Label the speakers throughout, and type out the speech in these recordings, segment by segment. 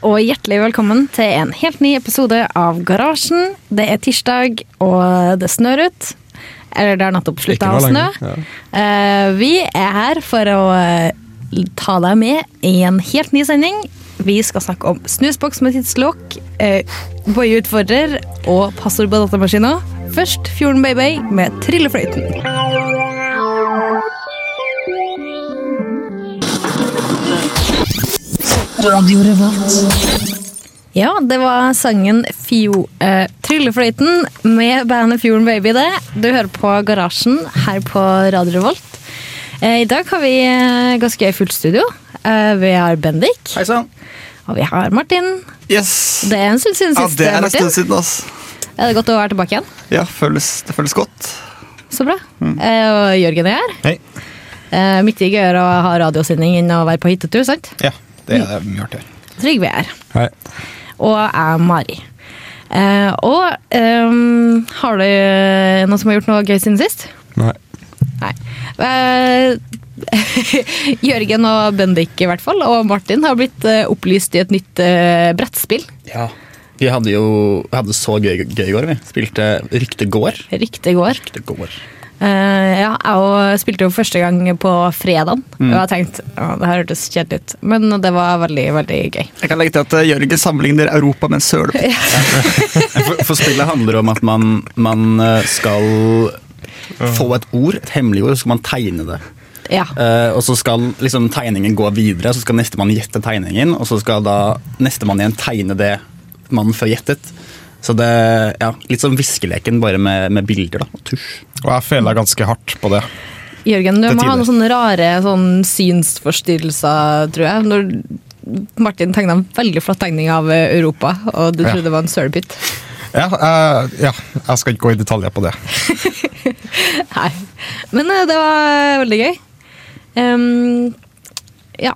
Speaker 1: og hjertelig velkommen til en helt ny episode av Garasjen. Det er tirsdag, og det snør ut. Eller det har nettopp
Speaker 2: Ikke
Speaker 1: slutta
Speaker 2: noe
Speaker 1: å snø.
Speaker 2: lenger, ja.
Speaker 1: Eh, vi er her for å eh, ta deg med i en helt ny sending. Vi skal snakke om snusboks med tidslokk, eh, Boje utfordrer og passord på datamaskina. Først Fjorden Baby med Trillefløyten. Ja, det var sangen Fjo, eh, Tryllefløyten med bandet Fjorden Baby. det. Du hører på Garasjen her på Radio Revolt. Eh, I dag har vi eh, ganske gøy fullt studio. Eh, vi har Bendik,
Speaker 3: Hei sann.
Speaker 1: og vi har Martin.
Speaker 3: Yes.
Speaker 1: Det er en stund siden
Speaker 3: ja,
Speaker 1: sist, eh,
Speaker 3: det er en
Speaker 1: Martin.
Speaker 3: stund siden, ass.
Speaker 1: Er det godt å være tilbake igjen?
Speaker 3: Ja, føles, det føles godt.
Speaker 1: Så bra.
Speaker 3: Mm.
Speaker 1: Eh, og Jørgen er her.
Speaker 2: Hei.
Speaker 1: Eh, mye gøyere å ha radiosending enn å være på hyttetur, sant?
Speaker 4: Ja, det er det mye artigere.
Speaker 1: Trygve er her.
Speaker 2: Hei.
Speaker 1: og er Mari. Eh, og ehm, har du noen som har gjort noe gøy siden sist?
Speaker 2: Nei.
Speaker 1: Nei. Eh, Jørgen og Bendik i hvert fall, og Martin har blitt eh, opplyst i et nytt eh, brettspill.
Speaker 4: Ja. Vi hadde jo vi hadde så gøy, gøy i går, vi. Spilte Rykte går.
Speaker 1: Riktig går.
Speaker 4: Rykte går.
Speaker 1: Eh, ja, jeg og spilte jo første gang på fredagen,
Speaker 2: Mm.
Speaker 1: og jeg tenkte at det her hørtes kjedelig ut, men det var veldig, veldig gøy.
Speaker 3: Jeg kan legge til at eh, Jørgen sammenligner Europa med en sølepott.
Speaker 4: For, for spillet handler om at man, man eh, skal få et ord, et hemmelig ord, så skal man tegne det.
Speaker 1: Ja.
Speaker 4: Eh, og så skal liksom, tegningen gå videre, så skal nestemann gjette tegningen, og så skal da nestemann igjen tegne det mannen før gjettet. Så det ja, Litt som viskeleken, bare med, med bilder da, og tusj.
Speaker 2: Og jeg fela ganske hardt på det.
Speaker 1: Jørgen, du
Speaker 2: Til
Speaker 1: må ha
Speaker 2: tider.
Speaker 1: noen sånne rare sånn synsforstyrrelser, tror jeg. Når Martin tegna en veldig flott tegning av eh, Europa, og du
Speaker 2: Ja.
Speaker 1: trodde det var en sølepytt.
Speaker 2: Ja, jeg, ja, jeg skal ikke gå i detaljer på det.
Speaker 1: Nei. Men eh, det var veldig gøy. Ehm, ja.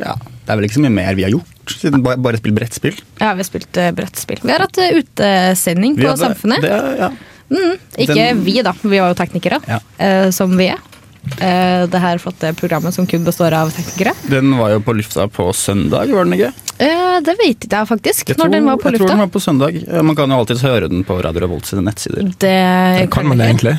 Speaker 4: Ja, Det er vel ikke så mye mer vi har gjort, siden bare, bare spilt brettspill.
Speaker 1: ja, vi har spilt eh, brettspill. Vi har hatt eh, utesending
Speaker 4: Vi
Speaker 1: på
Speaker 4: hadde-
Speaker 1: Samfunnet.
Speaker 4: Det, ja.
Speaker 1: Ikke
Speaker 4: den-
Speaker 1: vi, da. Vi var jo teknikere,
Speaker 4: Ja.
Speaker 1: eh, som vi er. Eh, det her flotte programmet som kun består av teknikere.
Speaker 4: Den var jo på lufta på søndag, var den ikke?
Speaker 1: Eh, det vet ikke jeg faktisk,
Speaker 4: Jeg
Speaker 1: når den var på
Speaker 4: jeg tror
Speaker 1: lufta.
Speaker 4: den var på søndag. Eh, Man kan jo alltids høre den på Radio Revolt sine nettsider.
Speaker 1: Det Eh, kan jeg ikke.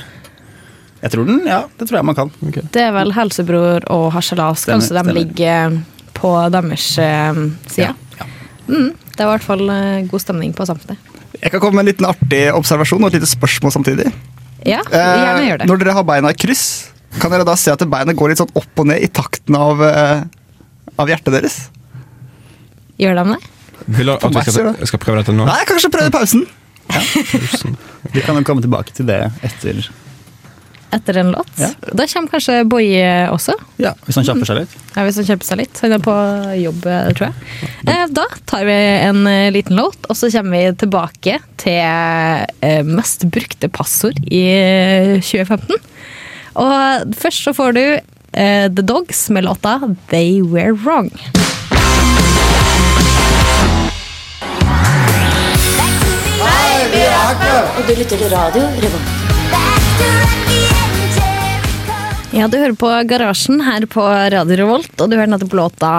Speaker 4: Jeg tror den, ja, det tror jeg man kan.
Speaker 1: Det er vel Helsebror og Harselas.
Speaker 4: Stemmer,
Speaker 1: Kanskje de
Speaker 4: stemmer.
Speaker 1: ligger eh, på deres eh, side.
Speaker 4: Ja.
Speaker 1: Mm, det var i hvert fall eh, god stemning på samfunnet.
Speaker 3: Jeg kan komme med en liten artig observasjon og et lite spørsmål samtidig.
Speaker 1: Ja,
Speaker 3: Eh,
Speaker 1: gjerne gjør det.
Speaker 3: når dere har beina i kryss, kan dere da se at beinet går litt sånn opp og ned i takten av, eh, av hjertet deres?
Speaker 1: Gjør de det?
Speaker 2: Vil du at vi
Speaker 3: meg ser
Speaker 2: skal,
Speaker 3: det.
Speaker 2: jeg skal prøve dette nå?
Speaker 3: Nei, kanskje prøve i pausen.
Speaker 4: Vi kan jo komme tilbake til det etter
Speaker 1: Etter en låt?
Speaker 4: Ja.
Speaker 1: Da kommer kanskje Boje også.
Speaker 4: ja, hvis han kjapper seg litt.
Speaker 1: Ja, Hvis han kjøper seg litt. Han er på jobb, eh, tror jeg. Eh, Da tar vi en eh, liten låt, og så kommer vi tilbake til eh, mest brukte passord i eh, 2015. Og først så får du eh, The Dogs med låta They Were Wrong.
Speaker 5: Og du lytter til radio Revolt.
Speaker 1: Ja, du hører på Garasjen her på Radio Revolt, og du hører nettopp låta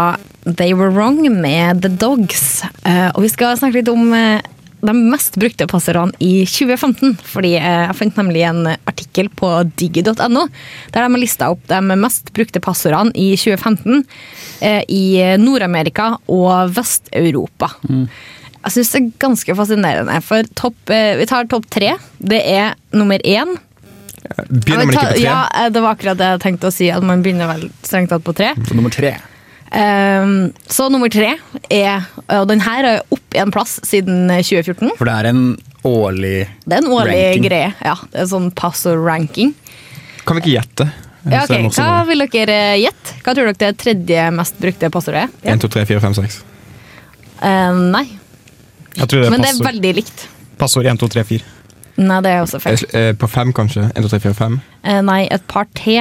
Speaker 1: They Were Wrong med The Dogs. Eh, og vi skal snakke litt om eh, de mest brukte passordene i 2015. Fordi eh, jeg fant nemlig en artikkel på digi.no der de har lista opp de mest brukte passordene i 2015 eh, i Nord-Amerika og Vest-Europa. Jeg syns det er ganske fascinerende. For topp, eh, vi tar topp tre. Det er nummer én.
Speaker 2: Begynner
Speaker 1: Ja,
Speaker 2: man ikke
Speaker 1: men
Speaker 2: på
Speaker 1: ta-
Speaker 2: tre?
Speaker 1: Ja, eh, det var akkurat det jeg tenkte å si, at man begynner vel strengt tatt på tre.
Speaker 4: Så nummer tre.
Speaker 1: Ehm, så nummer tre er Og den her er opp en plass siden eh, 2014.
Speaker 4: For det er en årlig
Speaker 1: Det er en årlig
Speaker 4: Ranking.
Speaker 1: greie. Ja, det er sånn passord-ranking.
Speaker 2: Kan vi ikke gjette?
Speaker 1: Ja,
Speaker 2: Så jeg
Speaker 1: ok,
Speaker 2: må også
Speaker 1: Hva
Speaker 2: gå.
Speaker 1: vil dere eh, gjette? Hva tror dere det tredje mest brukte passordet er?
Speaker 2: 1, 2, 3, 4, 5, 6.
Speaker 1: Eh, nei,
Speaker 2: Jeg tror det er
Speaker 1: men det er
Speaker 2: passord.
Speaker 1: veldig likt.
Speaker 2: Passord 1, 2, 3, 4.
Speaker 1: Nei, det er også
Speaker 6: Eh,
Speaker 1: feil.
Speaker 2: På 5, kanskje? 1, 2, 3, 4, 5.
Speaker 1: Eh, nei, et par T.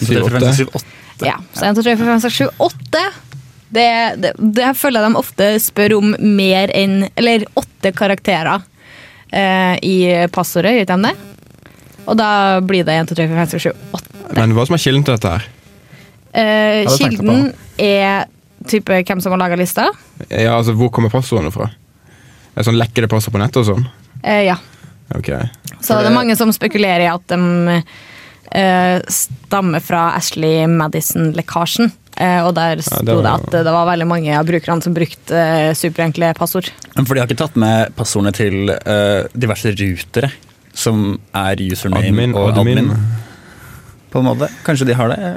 Speaker 2: Syv, åtte.
Speaker 4: Syv, åtte.
Speaker 1: Ja, så 1, 2, 3, 4, 5, 6, 7, 8 det, det, det her føler jeg de ofte spør om mer enn Eller åtte karakterer eh, i passordet, gjør ikke de det? Og da blir det 1, 2, 3, 4, 5, 6, 7, 8.
Speaker 2: Men hva som er kilden til dette her?
Speaker 1: Eh,
Speaker 2: hadde tenkt på
Speaker 1: kilden er type hvem som har laga lista?
Speaker 6: Ja, altså, Hvor kommer passordene fra? Er det sånn Lekkede passord på nettet og sånn?
Speaker 1: Eh, ja.
Speaker 6: Ok.
Speaker 1: Så det er mange som spekulerer i at de eh, stammer fra Ashley Madison-lekkasjen. Eh, og der sto det,
Speaker 6: var-
Speaker 1: at det var veldig mange av brukerne som brukte eh, superenkle passord.
Speaker 4: Men For de har ikke tatt med passordene til eh, diverse rutere, som er username
Speaker 6: Admin
Speaker 4: og admin.
Speaker 6: admin.
Speaker 4: På en måte. Kanskje de har det?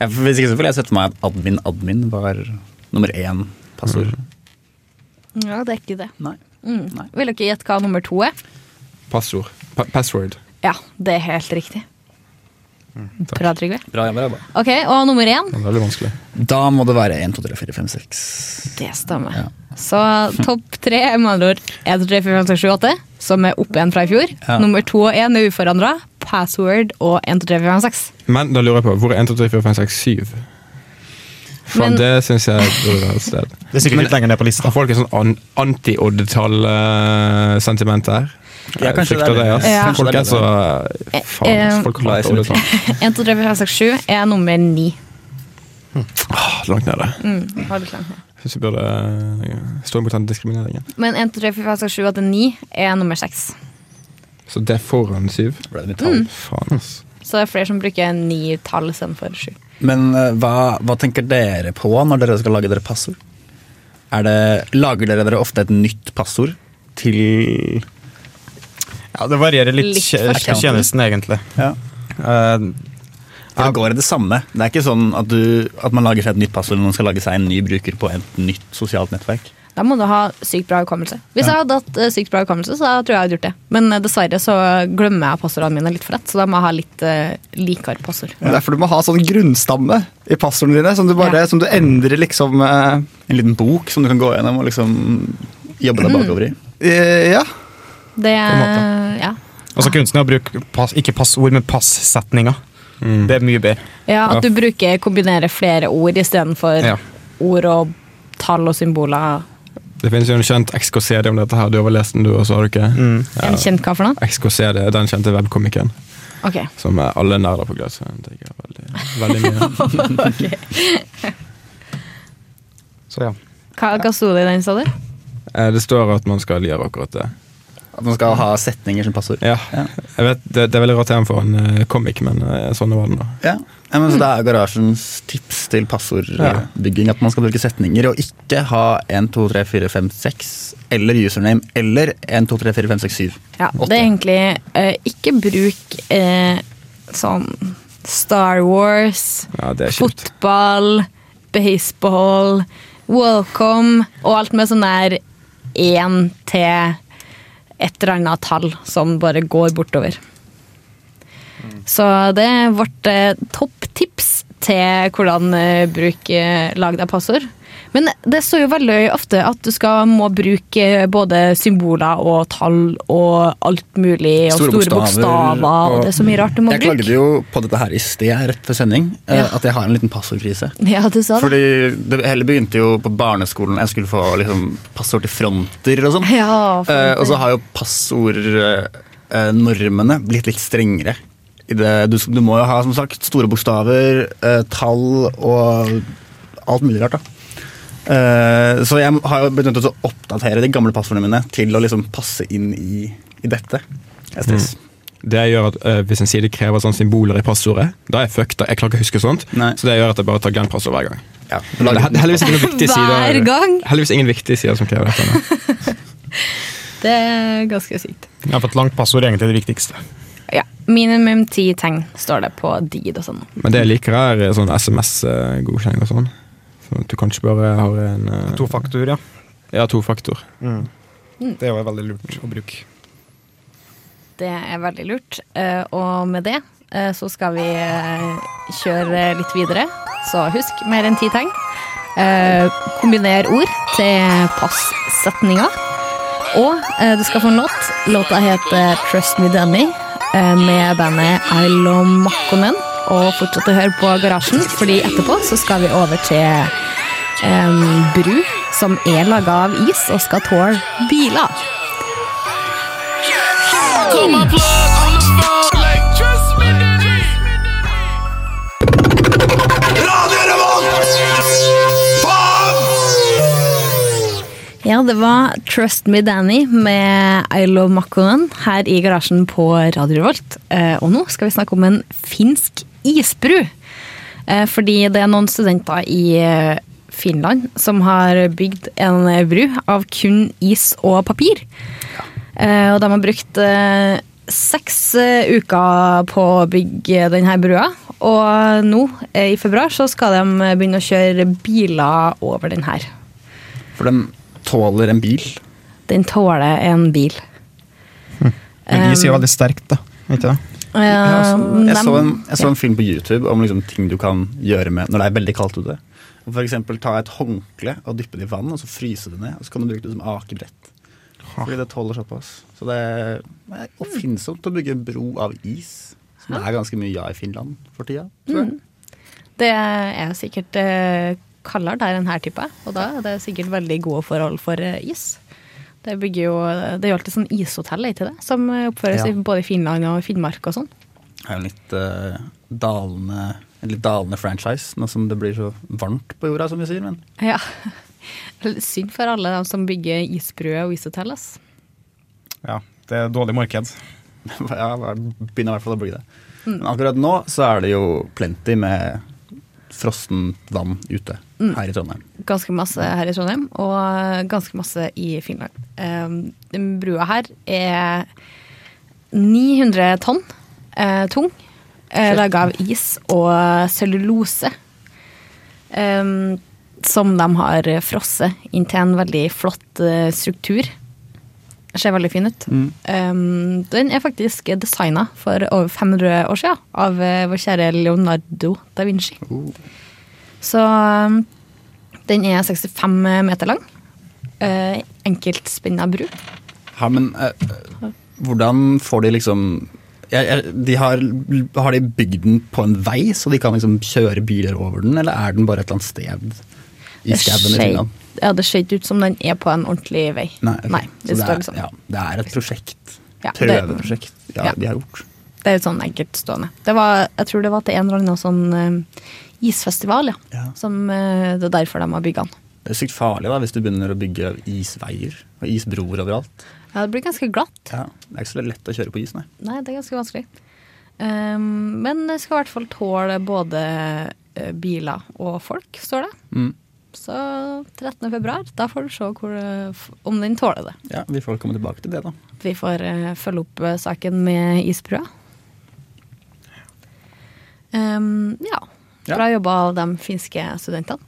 Speaker 4: Jeg, hvis ikke så ville jeg sett for meg at admin, admin var nummer én passord.
Speaker 2: Mhm.
Speaker 1: Ja, det er ikke det.
Speaker 4: Nei.
Speaker 1: Mm.
Speaker 4: Nei.
Speaker 1: Vil dere gjette hva nummer to er?
Speaker 6: Passord. Pa password.
Speaker 1: Ja, det er helt riktig. Bra, Trygve.
Speaker 4: Bra jobba. jobba.
Speaker 1: Ok, Og nummer én?
Speaker 6: Det er veldig vanskelig.
Speaker 4: Da må det være 1, 2, 3, 4, 5, 6.
Speaker 1: Det stemmer. Så topp tre er med andre ord 1, 2, 3, 4, 5, 6, 7, 8, som er opp igjen fra i fjor.
Speaker 4: Ja.
Speaker 1: Nummer to og én er uforandra. Password og 1, 2, 3, 4, 5, 6.
Speaker 6: Men da lurer jeg på, hvor er 1, 2, 3, 4, 5, 6, 7? Faen,
Speaker 1: Men-
Speaker 6: det syns jeg burde være et sted.
Speaker 2: Det er sikkert litt lenger ned på lista.
Speaker 6: Har folk et sånn an anti-oddetall-sentiment her?
Speaker 4: Ja, kanskje
Speaker 6: Jeg frykter
Speaker 4: det er
Speaker 6: det, ass.
Speaker 1: litt- ja.
Speaker 6: Folk
Speaker 4: kanskje
Speaker 6: er så Faen, ass.
Speaker 1: Eh,
Speaker 6: Folk hater oddetall.
Speaker 1: 1, 2, 3, 4, 5, 6, 7 er nummer ni.
Speaker 6: Ah, Langt nede.
Speaker 1: Mm. Har du klart det?
Speaker 6: Syns vi burde eh, stå imot den diskrimineringen.
Speaker 1: Men 1, 2, 3, 4, 5, 6, 7, 8, 9 er nummer seks.
Speaker 6: Så det er foran syv?
Speaker 4: Ble det mitt tall?
Speaker 6: Faen, ass.
Speaker 1: Så det er flere som bruker ni-tall istedenfor sju.
Speaker 4: Men eh, hva, hva tenker dere på når dere skal lage dere passord? Er det, lager dere dere ofte et nytt passord til
Speaker 2: Ja, det varierer litt,
Speaker 1: Litt
Speaker 2: tje-
Speaker 1: forskjellig.
Speaker 2: tjenesten, egentlig.
Speaker 4: ja.
Speaker 2: Eh,
Speaker 4: Da går det det samme. Det er ikke sånn at, du, at man lager seg et nytt passord når man skal lage seg en ny bruker på et nytt sosialt nettverk.
Speaker 1: Da må du ha sykt bra hukommelse. Hvis jeg hadde hatt eh, sykt bra hukommelse, så tror jeg jeg hadde gjort det. Men eh, dessverre så glemmer jeg passordene mine litt for lett, så da må jeg ha litt uh, likere passord.
Speaker 3: Det er derfor du må ha sånn grunnstamme i passordene dine, som du, bare,
Speaker 1: Ja.
Speaker 3: som du endrer liksom eh,
Speaker 4: En liten bok som du kan gå gjennom og liksom jobbe deg bakover i.
Speaker 3: eh, Ja.
Speaker 1: Det
Speaker 2: en
Speaker 1: er ja.
Speaker 2: Altså kunsten er å bruke pass, ikke passord, men passetninger. Det er mye bedre.
Speaker 1: ja, at du bruker kombinerer flere ord istedenfor
Speaker 6: Ja.
Speaker 1: ord og tall og symboler.
Speaker 6: Det finnes jo en kjent XKCD om dette her. Du har vel lest den, du også, har du ikke?
Speaker 1: En kjent hva for noe?
Speaker 6: XKCD er den kjente webkomikeren
Speaker 1: Ok.
Speaker 6: som er alle nerder på gløs. Den tenker jeg Veldig, veldig mye.
Speaker 2: Så ja.
Speaker 1: Hva, hva sto det i den, sa du?
Speaker 6: Eh, Det står at man skal gjøre akkurat det.
Speaker 4: At man skal ha setninger som passord.
Speaker 6: Ja, jeg vet, det, det er veldig rart tema for en eh, komik, men eh, sånn var den da.
Speaker 4: Ja. Ja, men så Det er garasjens tips til passordbygging. At man skal bruke setninger og ikke ha 1, 2, 3, 4, 5, 6 eller username eller 1, 2, 3, 4, 5, 6, 7.
Speaker 1: Ja, det er egentlig eh, Ikke bruk eh, sånn Star Wars,
Speaker 6: Ja, det er kjipt.
Speaker 1: fotball, baseball, welcome og alt med sånn der én til et eller annet tall som bare går bortover. Så det er vårt eh, topptips til hvordan eh, bruk eh, lag deg passord. Men det står jo veldig ofte at du skal må bruke eh, både symboler og tall og alt mulig. Og store, bokstaver. Og, det er så mye rart du må
Speaker 4: jeg
Speaker 1: bruke.
Speaker 4: klagde jo på dette her i sted, rett før sending, eh,
Speaker 1: Ja.
Speaker 4: at jeg har en liten passordkrise.
Speaker 1: Ja, du sa det.
Speaker 4: Fordi det hele begynte jo på barneskolen. Jeg skulle få liksom, passord til fronter og sånn.
Speaker 1: Ja,
Speaker 4: Eh, og så
Speaker 1: fronter.
Speaker 4: har jo passordnormene blitt litt strengere. I det, du, du må jo ha som sagt store bokstaver, eh, tall og alt mulig rart. da. Eh, så jeg har jo begynt å oppdatere de gamle passordene mine til å liksom passe inn i, i dette. Jeg stress.
Speaker 6: Mm. Det gjør at eh, Hvis en side krever sånne symboler i passordet, da er jeg fucked. da. Jeg klarer ikke å huske sånt.
Speaker 4: Nei.
Speaker 6: Så det gjør at jeg bare tar glenpassord hver gang.
Speaker 4: Ja,
Speaker 6: Men det er hel- heldigvis, ikke noen viktige
Speaker 1: Hver
Speaker 6: sider,
Speaker 1: gang?
Speaker 6: heldigvis ingen viktige sider som krever dette. nå.
Speaker 1: Det er ganske sykt.
Speaker 2: Jeg har fått langt passord er egentlig det viktigste.
Speaker 1: Ja, Minimum ti tegn står det på deed og sånn.
Speaker 6: Men det jeg liker, er eh, sånn SMS-godkjenning og sånn. Så at du kanskje bare har en eh,
Speaker 2: To faktor, ja.
Speaker 6: Ja, to faktor.
Speaker 2: Det er jo veldig lurt å bruke.
Speaker 1: Det er veldig lurt. Eh, Og med det eh, så skal vi eh, kjøre litt videre. Så husk mer enn ti tegn. Eh, Kombiner ord til passetninger. Og eh, du skal få en låt. Låta heter Trust Me Dummy eh, med bandet Ailo Makkonen. Og fortsett å høre på Garasjen, fordi etterpå så skal vi over til em, bru som er laga av is og skal tåle biler.
Speaker 7: Call my plug on the phone, like, trust me, nigga. Radio Revolt! Faen!
Speaker 1: det var Trust Me Danny med I Love Makonnen her i garasjen på Radio Revolt. Eh, Og nå skal vi snakke om en finsk isbru. Eh, Fordi det er noen studenter i eh, Finland som har bygd en bru av kun is og papir. Eh, Og de har brukt eh, seks eh, uker på å bygge denne brua. Og nå, eh, i februar, så skal de eh, begynne å kjøre biler over den her.
Speaker 4: For de tåler en bil.
Speaker 1: Den tåler en bil.
Speaker 2: Men is er jo veldig sterkt, da. Ikke det?
Speaker 1: Eh,
Speaker 4: altså, Jeg så en,
Speaker 1: dem-
Speaker 4: jeg så en film på YouTube om liksom ting du kan gjøre med når det er veldig kaldt ute. Og For eksempel ta et håndkle og dyppe det i vann, og så fryse det ned. Og så kan du bruke det som akebrett. Fordi det tåler såpass. Så det er det er oppfinnsomt å bygge en bro av is. Som det er ganske mye av i Finland for tida. tror jeg.
Speaker 1: Det er jo sikkert eh, kaldere der enn her, tipper jeg. Og da er det sikkert veldig gode forhold for eh, is. Det, bygger jo, det er jo alltid sånn ishotell er ikke det, som eh, oppføres
Speaker 4: Ja.
Speaker 1: i både Finland og Finnmark og sånn.
Speaker 4: Det er jo en litt eh, dalende en litt dalende franchise, nå som det blir så varmt på jorda, som vi sier. Men
Speaker 1: Ja. Litt Synd for alle dem som bygger isbruer og ishotell. ass.
Speaker 2: Ja, det er dårlig marked.
Speaker 4: ja, det begynner i hvert fall å bli det.
Speaker 1: Mm.
Speaker 4: Men akkurat nå så er det jo plenty med frossent vann ute
Speaker 1: Mm.
Speaker 4: her i Trondheim.
Speaker 1: Ganske masse her i Trondheim, og ganske masse i Finland. Um, den brua her er 900 tonn eh, tung, uh, laga av is og cellulose. Um, som de har frosset inn til en veldig flott eh, struktur. Ser veldig fin ut. Um, den er faktisk designa for over 500 år siden av eh, vår kjære Leonardo da Vinci. Så um, den er 65 meter lang. Uh, Enkeltspenna bru.
Speaker 4: Ja, men eh, eh, hvordan får de liksom jeg, jeg, de har, har de bygd den på en vei, så de kan liksom kjøre biler over den, eller er den bare et eller annet sted i skauen i Finland?
Speaker 1: Ja, det ser ikke ut som den er på en ordentlig vei.
Speaker 4: Nei, ok.
Speaker 1: det,
Speaker 4: så det,
Speaker 1: står
Speaker 4: er,
Speaker 1: liksom,
Speaker 4: ja, det er et prosjekt.
Speaker 1: Ja, det-
Speaker 4: Prøveprosjekt. Ja,
Speaker 1: ja.
Speaker 4: de har gjort.
Speaker 1: det er litt sånn enkeltstående. Det var, jeg tror det var til en eller annen sånn eh, isfestival, ja.
Speaker 4: Ja.
Speaker 1: Som, eh, det er derfor de har bygd den.
Speaker 4: Det er sykt farlig da, hvis du begynner å bygge isveier og isbroer overalt.
Speaker 1: Ja, det blir ganske glatt.
Speaker 4: Ja. Det er ikke så lett å kjøre på is, nei.
Speaker 1: Nei, det er ganske vanskelig. Um, men det skal i hvert fall tåle både eh, biler og folk, står det.
Speaker 4: Mm.
Speaker 1: Så 13. februar, da får du se hvor, eh, f- om den tåler det.
Speaker 4: Ja, Vi får komme tilbake til det, da.
Speaker 1: Vi får eh, følge opp eh, saken med isbrua. Ehm, ja.
Speaker 4: Ja.
Speaker 1: Bra jobba av de finske studentene.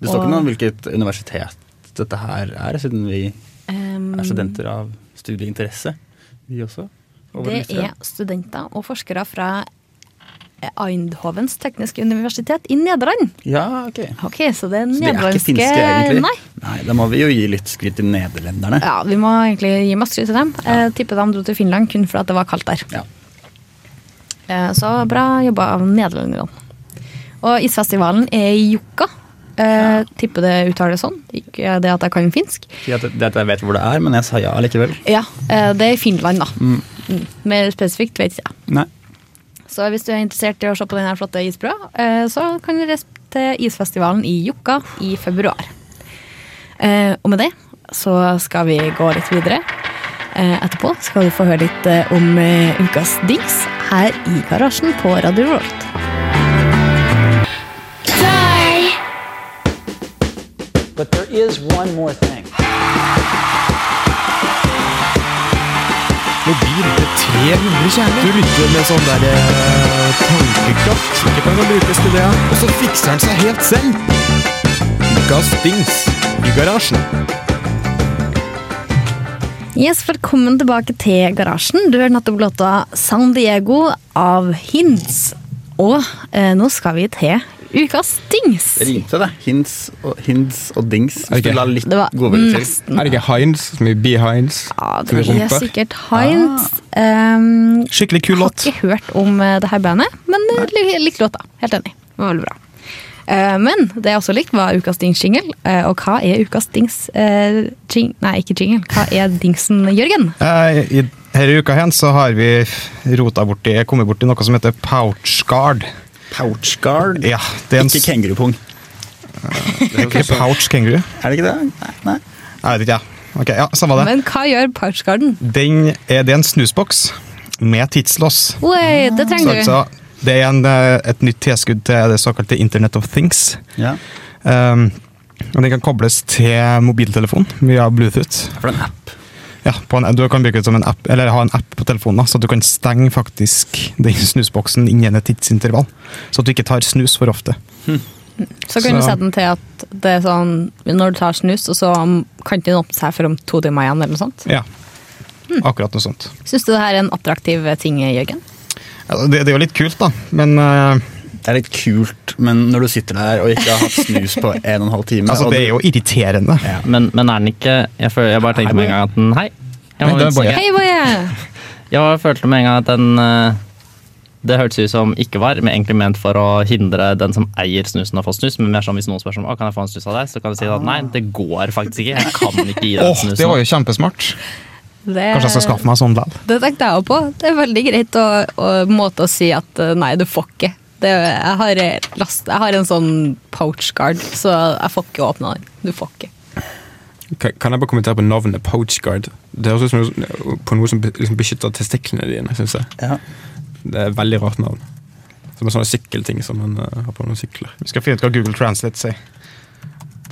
Speaker 4: Det står
Speaker 1: Og-
Speaker 4: ikke noe om hvilket universitet dette her er, siden vi
Speaker 1: Ehm,
Speaker 4: er studenter av studieinteresse, vi også. over
Speaker 1: det
Speaker 4: lufta.
Speaker 1: er studenter og forskere fra eh, Eindhovens tekniske universitet i Nederland.
Speaker 4: Ja, ok.
Speaker 1: Ok, Så det er
Speaker 4: Så de er ikke
Speaker 1: nederlandske
Speaker 4: finske, egentlig.
Speaker 1: Nei.
Speaker 4: Nei, Da må vi jo gi litt skryt til nederlenderne.
Speaker 1: Ja, Vi må egentlig gi masse skryt til dem. Eh, Tipper de dro til Finland kun fordi at det var kaldt der.
Speaker 4: Ja.
Speaker 1: Eh, Så bra jobba av nederlenderne. Og isfestivalen er i Jokka. Eh, Tipper det uttales sånn. Ikke det at jeg kan finsk.
Speaker 4: Fordi at- Det at jeg vet hvor det er, men jeg sa ja likevel.
Speaker 1: Ja, eh, Det er i Finland, da. Mm. Mer spesifikt vet ikke jeg.
Speaker 4: Nei.
Speaker 1: Så hvis du er interessert i å se på denne flotte isbrua, eh, så kan du reise til isfestivalen i Jokka i februar. Eh, Og med det så skal vi gå litt videre. Eh, Etterpå skal du få høre litt eh, om eh, ukas dings her i garasjen på Radio Rolt.
Speaker 8: But there is one more thing.
Speaker 6: Mobil til 300 kjerner. Du lytter med sånn der eh, tankekraft. Det kan jo brukes til det. Og så fikser han seg helt selv. Ukas dings i garasjen.
Speaker 1: Yes, Velkommen tilbake til garasjen. Du hørte nettopp låta San Diego av Hinds. Og eh, nå skal vi til ukas dings.
Speaker 4: Det rimte, det. Hints og, hints og dings. Hvis
Speaker 6: Ok.
Speaker 4: du la litt
Speaker 1: Det var
Speaker 4: godvilje til.
Speaker 1: nesten.
Speaker 6: Er det ikke Heinz som i Behinds?
Speaker 1: Ja,
Speaker 6: som
Speaker 1: det
Speaker 6: i
Speaker 1: er
Speaker 6: rumpa?
Speaker 1: sikkert Hinds. Um,
Speaker 2: Skikkelig kul
Speaker 1: har
Speaker 2: låt.
Speaker 1: ikke hørt om eh, det her bandet, men eh, lik- likte låta. Helt enig. Det var veldig bra. Eh, men det jeg også likte, var ukas dings-jingle. Eh, og hva er ukas dings eh, jing, Nei, ikke jingle. Hva er dingsen, Jørgen?
Speaker 2: Eh, I denne uka hen så har vi rota borti, kommet borti noe som heter pouchguard.
Speaker 4: Pouchguard.
Speaker 2: Ja, det er en
Speaker 4: Ikke kengurupung.
Speaker 2: s- ikke pouch kenguru.
Speaker 4: Er det ikke det? Nei. nei.
Speaker 2: Jeg vet ikke, jeg. Ok, ja, Samme det.
Speaker 1: Men hva gjør Pouchgarden?
Speaker 2: Den er, det er en snusboks med tidslås.
Speaker 1: Oi, det
Speaker 2: Så
Speaker 1: trenger du.
Speaker 2: altså, det er en, eh, et nytt tilskudd til det såkalte Internet of Things.
Speaker 4: Ja.
Speaker 2: Um, og den kan kobles til mobiltelefon via Bluetooth.
Speaker 4: For det er en app.
Speaker 2: Ja, på en, du kan bruke det som en app, eller ha en app på telefonen, da, så du kan stenge faktisk den snusboksen innen et tidsintervall. Så at du ikke tar snus for ofte.
Speaker 1: Så kan du
Speaker 2: så-
Speaker 1: sette den til at det er sånn når du tar snus, og så kan den åpne seg for om to timer igjen, eller noe sånt.
Speaker 2: Ja, akkurat noe sånt.
Speaker 1: Syns du det her er en attraktiv eh, ting, Jørgen?
Speaker 2: Ja, det, det er jo litt kult, da, men eh,
Speaker 4: Det er litt kult, men når du sitter der og ikke har hatt snus på en og en halv time
Speaker 2: altså,
Speaker 4: og
Speaker 2: det er
Speaker 4: du-
Speaker 2: jo irriterende.
Speaker 4: Ja.
Speaker 9: Men, men er den ikke Jeg, føler, jeg bare tenkte med en gang at den Hei! Jeg,
Speaker 2: Nei,
Speaker 9: må
Speaker 2: det er
Speaker 9: vise-
Speaker 2: bare-
Speaker 1: Hei, Boje!
Speaker 9: jeg følte med en gang at den eh, Det hørtes ut som ikke var, men egentlig ment for å hindre den som eier snusen å få snus. Men mer som hvis noen spør om «Å, kan jeg få en snus av deg, så kan du si at nei, det går faktisk ikke. Jeg kan ikke gi
Speaker 2: Åh,
Speaker 9: deg snusen.
Speaker 2: det var jo kjempesmart.
Speaker 1: Det,
Speaker 2: Kanskje jeg skal skaffe meg sånn likevel.
Speaker 1: det tenkte jeg òg på. Det er veldig greit å, å måte å si at eh, nei, du får ikke. Det, jeg, har eh, last, jeg har en sånn pouch guard, så jeg får ikke åpna den. Du får ikke.
Speaker 6: Kan kan jeg bare kommentere på navnet Poachguard? Det høres ut som noe, på noe som be- liksom beskytter testiklene dine, synes jeg.
Speaker 4: Ja.
Speaker 6: Det er et veldig rart navn. Som en sånn sykkelting som man eh, har på noen sykler.
Speaker 2: Vi skal finne ut hva Google Translate sier.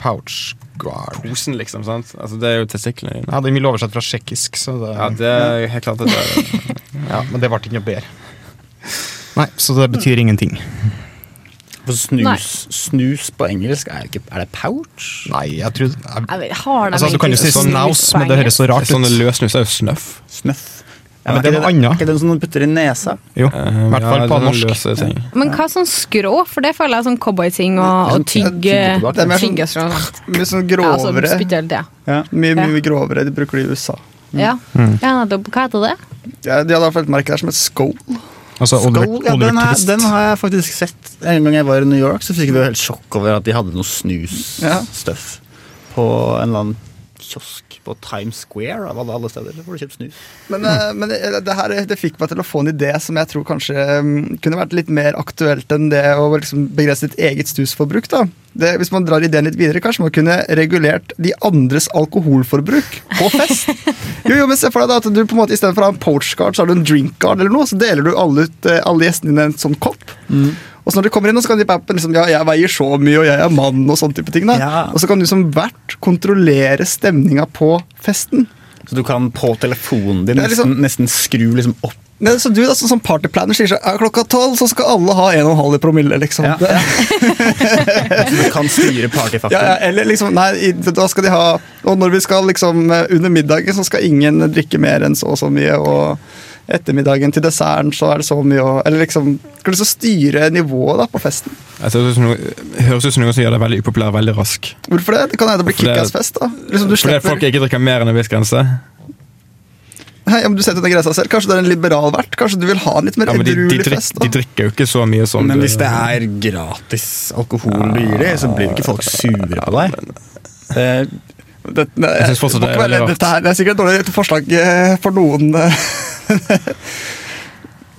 Speaker 2: Pouch guard.
Speaker 6: Posen, liksom, sant? Altså, det er jo testiklene dine.
Speaker 2: Ja, den vil oversette fra tsjekkisk, så det,
Speaker 6: Ja, det er helt klart at det er
Speaker 2: ja, men det ble ikke noe bedre. Nei, så det betyr ingenting.
Speaker 4: For
Speaker 1: Nei.
Speaker 4: snus, snus på engelsk, er, ikke, er det pouch?
Speaker 2: Nei, jeg tror jeg,
Speaker 1: Jeg vet, har de
Speaker 2: altså, Du kan jo si
Speaker 1: egentlig
Speaker 2: snaus, men det høres så rart
Speaker 6: Sånne
Speaker 2: ut.
Speaker 6: løsnus er jo snøff.
Speaker 4: Snøff?
Speaker 2: Ja, men det er noe annet.
Speaker 4: Ikke den som du putter i nesa?
Speaker 2: Jo,
Speaker 6: Eh,
Speaker 2: i hvert fall
Speaker 6: ja,
Speaker 2: på
Speaker 6: det er noen
Speaker 2: norsk.
Speaker 6: Løse ting.
Speaker 1: Men hva sånn skrå? For det føler jeg er sånn cowboyting og, og
Speaker 4: Det er sånn
Speaker 1: tygge
Speaker 4: tyggetabakk.
Speaker 3: Det er mer sånn-
Speaker 1: tygge og sånn.
Speaker 3: Mye sånn
Speaker 1: Ja, altså,
Speaker 3: grovere.
Speaker 1: spytte hele tida.
Speaker 3: Mye, mye,
Speaker 1: Ja.
Speaker 3: mye grovere. De bruker det i USA.
Speaker 1: Ja. Mm. ja, nettopp. Hva heter det?
Speaker 3: Ja, de hadde i hvert fall et merke der som het Skål.
Speaker 2: Altså Oliver,
Speaker 4: Skål, ja,
Speaker 2: Oliver
Speaker 4: den, er,
Speaker 2: Twist.
Speaker 4: den har jeg faktisk sett. En gang jeg var i New York, så fikk vi jo helt sjokk over at de hadde noe snusstøff på en eller annen kiosk på Times Square av alle, alle steder. Hvor du kjøpt snus.
Speaker 3: Men, eh, men det, det her det fikk meg til å få en idé som jeg tror kanskje mm, kunne vært litt mer aktuelt enn det å liksom begrense ditt eget snusforbruk. da. Det, hvis man drar ideen litt videre, kanskje man kunne regulert de andres alkoholforbruk på fest. jo, jo, men se for deg da at du på en måte istedenfor å ha en poachcard, så har du en drinkcard eller noe, så deler du alle, ut, eh, alle gjestene dine en sånn kopp. Og så når de kommer inn, og så kan de pappen liksom, ja, jeg veier så mye, og jeg er mann, og sånne type ting. da.
Speaker 4: Ja.
Speaker 3: Og så kan du som vert kontrollere stemninga på festen.
Speaker 4: Så du kan på telefonen din
Speaker 3: Det er liksom-
Speaker 4: nesten, nesten skru liksom opp.
Speaker 3: Nei, så du da, sånn som partyplanner sier så er klokka tolv, så skal alle ha en og en halv i promille, liksom.
Speaker 4: Ja.
Speaker 3: Det- Ja.
Speaker 4: Så du kan styre partyfaktoren.
Speaker 3: Ja, eller liksom, nei, i- da skal de ha Og når vi skal liksom eh, under middagen, så skal ingen drikke mer enn så og så mye, og ettermiddagen til desserten så er det så mye, og Eller liksom Skal liksom styre nivået da på festen.
Speaker 6: Altså, det høres ut som noe- høres ut som noe som gjør deg veldig upopulær veldig rask.
Speaker 3: Hvorfor det? Det kan hende det blir
Speaker 6: For det-
Speaker 3: kickass-fest, da. Liksom, du
Speaker 6: Fordi folk
Speaker 3: slipper
Speaker 6: ikke drikker mer enn en viss grense.
Speaker 3: Nei, ja, men Du setter under grensa selv. Kanskje du er en liberal vert? Kanskje du vil ha en litt mer
Speaker 6: Ja, men de, de,
Speaker 3: edruelig
Speaker 6: drikk,
Speaker 3: fest?
Speaker 6: de
Speaker 3: da?
Speaker 6: drikker jo ikke så mye som
Speaker 4: Men
Speaker 6: du-
Speaker 4: hvis det er gratis alkohol du gir dem, så blir jo ikke folk sure på deg. Eh,
Speaker 3: Det, nei,
Speaker 6: Jeg synes fortsatt
Speaker 3: må
Speaker 6: det er
Speaker 3: ikke være-
Speaker 6: veldig rart.
Speaker 3: Dette her, det er sikkert et dårlig forslag eh, for noen. eh.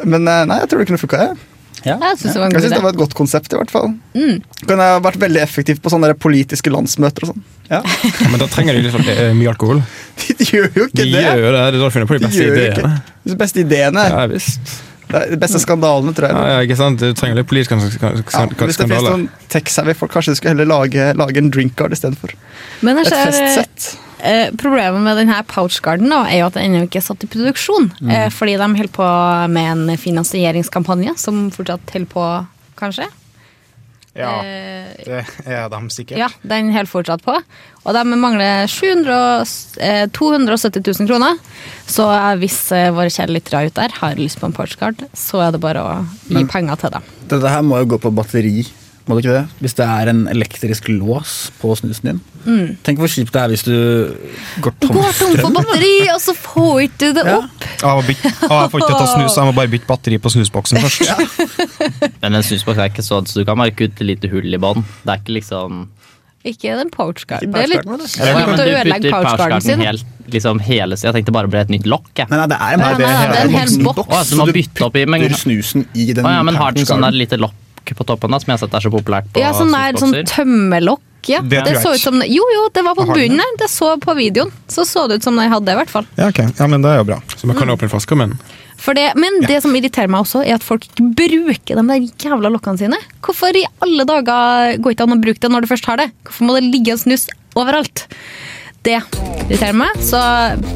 Speaker 3: Men eh, nei, jeg tror det kunne funka. Jeg,
Speaker 4: ja.
Speaker 1: Jeg syns det var en
Speaker 3: jeg
Speaker 1: god
Speaker 3: synes det
Speaker 1: idé. Mm.
Speaker 3: var et godt konsept. i hvert fall. Kan jeg ha vært veldig effektiv på sånne der politiske landsmøter og sånn.
Speaker 6: Ja, Men da trenger de liksom eh, mye alkohol.
Speaker 3: De gjør jo
Speaker 6: De
Speaker 3: ikke det!
Speaker 6: gjør jo det, det er da du finner på de
Speaker 3: De
Speaker 6: beste
Speaker 3: gjør jo ikke
Speaker 6: ideene.
Speaker 3: De beste ideene.
Speaker 6: Ja, visst.
Speaker 3: Det er De beste skandalene, tror jeg.
Speaker 6: Ja, ja, Sånn ikke sant? Du trenger litt politisk skandale.
Speaker 3: Ja, hvis det finnes noen tekst her, vi får kanskje du skulle heller lage, lage en drinkcard istedenfor.
Speaker 1: Men jeg
Speaker 3: Et
Speaker 1: ser,
Speaker 3: festsett.
Speaker 1: eh, problemet med denne pouchgarden nå, er jo at den ennå ikke er satt i produksjon. Eh, fordi de holder på med en finansieringskampanje som fortsatt holder på, kanskje.
Speaker 2: Ja,
Speaker 1: Eh,
Speaker 2: det er de sikkert.
Speaker 1: Ja, den holder fortsatt på. Og de mangler 700, og s- eh, 270 000 kroner. Så eh, hvis eh, våre kjære lyttere ut der har lyst på en Portugal, så er det bare å gi penger til dem.
Speaker 4: Dette her må jo gå på batteri, må det ikke det? Hvis det er en elektrisk lås på snusen din. Tenk hvor kjipt det er hvis du går
Speaker 1: Du
Speaker 4: tom
Speaker 1: går tom for
Speaker 4: strøm.
Speaker 1: batteri, og så får ikke du det
Speaker 4: Ja.
Speaker 1: opp!
Speaker 2: Jeg, må bytte, ah, jeg får ikke ta snus, jeg må bare bytte batteri på snusboksen først.
Speaker 9: Men en snusboks er ikke sånn, så du kan merke ut et lite hull i bånn. Det er ikke liksom
Speaker 1: Ikke den Portugal. Det er litt
Speaker 9: Å,
Speaker 3: pouch-garden,
Speaker 9: ja, men
Speaker 1: kjipt å ødelegge Portugalen sin.
Speaker 9: helt, liksom hele Jeg tenkte bare det ble et nytt lokk, jeg.
Speaker 4: Nei, nei, det er en,
Speaker 1: Nei, nei, nei, det er en hel boks.
Speaker 9: Å, altså, man
Speaker 4: Så du
Speaker 9: bytter opp i, men-
Speaker 4: putter snusen i den
Speaker 9: Å, ja, men har den sånn
Speaker 4: pouchgarden.
Speaker 9: der lite lokk på toppen da, som jeg har sett er så populært på
Speaker 1: Ja, sånn der sånn
Speaker 9: snusbokser?
Speaker 1: tømmelokk ja.
Speaker 2: Det
Speaker 1: Det,
Speaker 2: tror jeg
Speaker 1: så ut
Speaker 2: ikke.
Speaker 1: som Jo, jo, det var på
Speaker 2: Har den
Speaker 1: bunnen der. Det så på videoen. Så så det ut som de hadde det, i hvert fall.
Speaker 2: Ja, ok. Ja, men det er jo bra.
Speaker 6: Så man kan åpne flaska med den.
Speaker 1: For det, men det som irriterer meg også, er at folk ikke bruker de der jævla lokkene sine. Hvorfor i alle dager går ikke an å bruke det når du først har det? Hvorfor må det ligge en snus overalt? Det irriterer meg, så